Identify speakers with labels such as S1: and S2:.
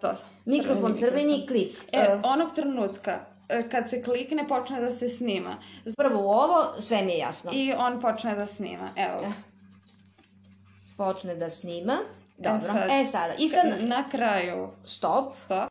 S1: to.
S2: Mikrofon crveni klik.
S1: E, onog trenutka e, kad se klikne počne da se snima
S2: Prvo u ovo, sve mi je jasno.
S1: i on počne da snima. Evo. E
S2: Eh, Počne da snima. Dobro.
S1: sad.
S2: E sada. I sad
S1: Na kraju
S2: stop.
S1: stop.